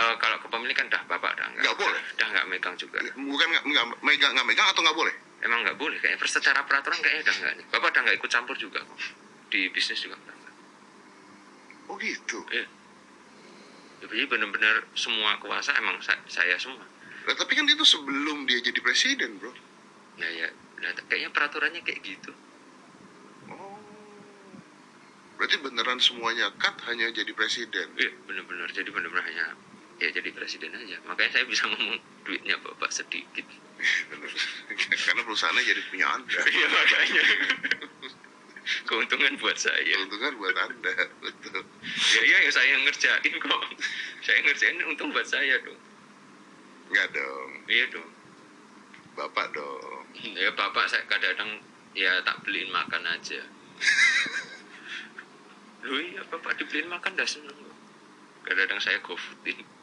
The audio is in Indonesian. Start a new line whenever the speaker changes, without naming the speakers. Eh, kalau kepemilikan dah bapak dah
Nggak boleh.
dah nggak megang juga
Bukan nggak nggak megang nggak megang atau nggak boleh?
emang nggak boleh kayaknya pers- secara peraturan kayaknya udah nggak nih bapak udah nggak ikut campur juga kok. di bisnis juga udah nggak.
Oh gitu.
Iya. Ya, jadi benar-benar semua kuasa emang sa- saya semua
Nah, tapi kan itu sebelum dia jadi presiden, bro.
nah ya nah, kayaknya peraturannya kayak gitu
Oh. Berarti beneran semuanya cut hanya jadi presiden.
iya benar-benar jadi benar-benar hanya ya jadi presiden aja makanya saya bisa ngomong duitnya bapak sedikit
Karena perusahaannya jadi punya anda.
iya makanya Iya. keuntungan buat saya
Keuntungan buat anda, betul.
ya iya yang saya ngerjain kok saya ngerjain untung buat saya dong
Nggak dong,
iya dong
bapak dong.
Hmm, ya bapak saya kadang-kadang ya tak beliin makan aja lu iya bapak dibeliin makan dah seneng loh. kadang-kadang saya gofoodin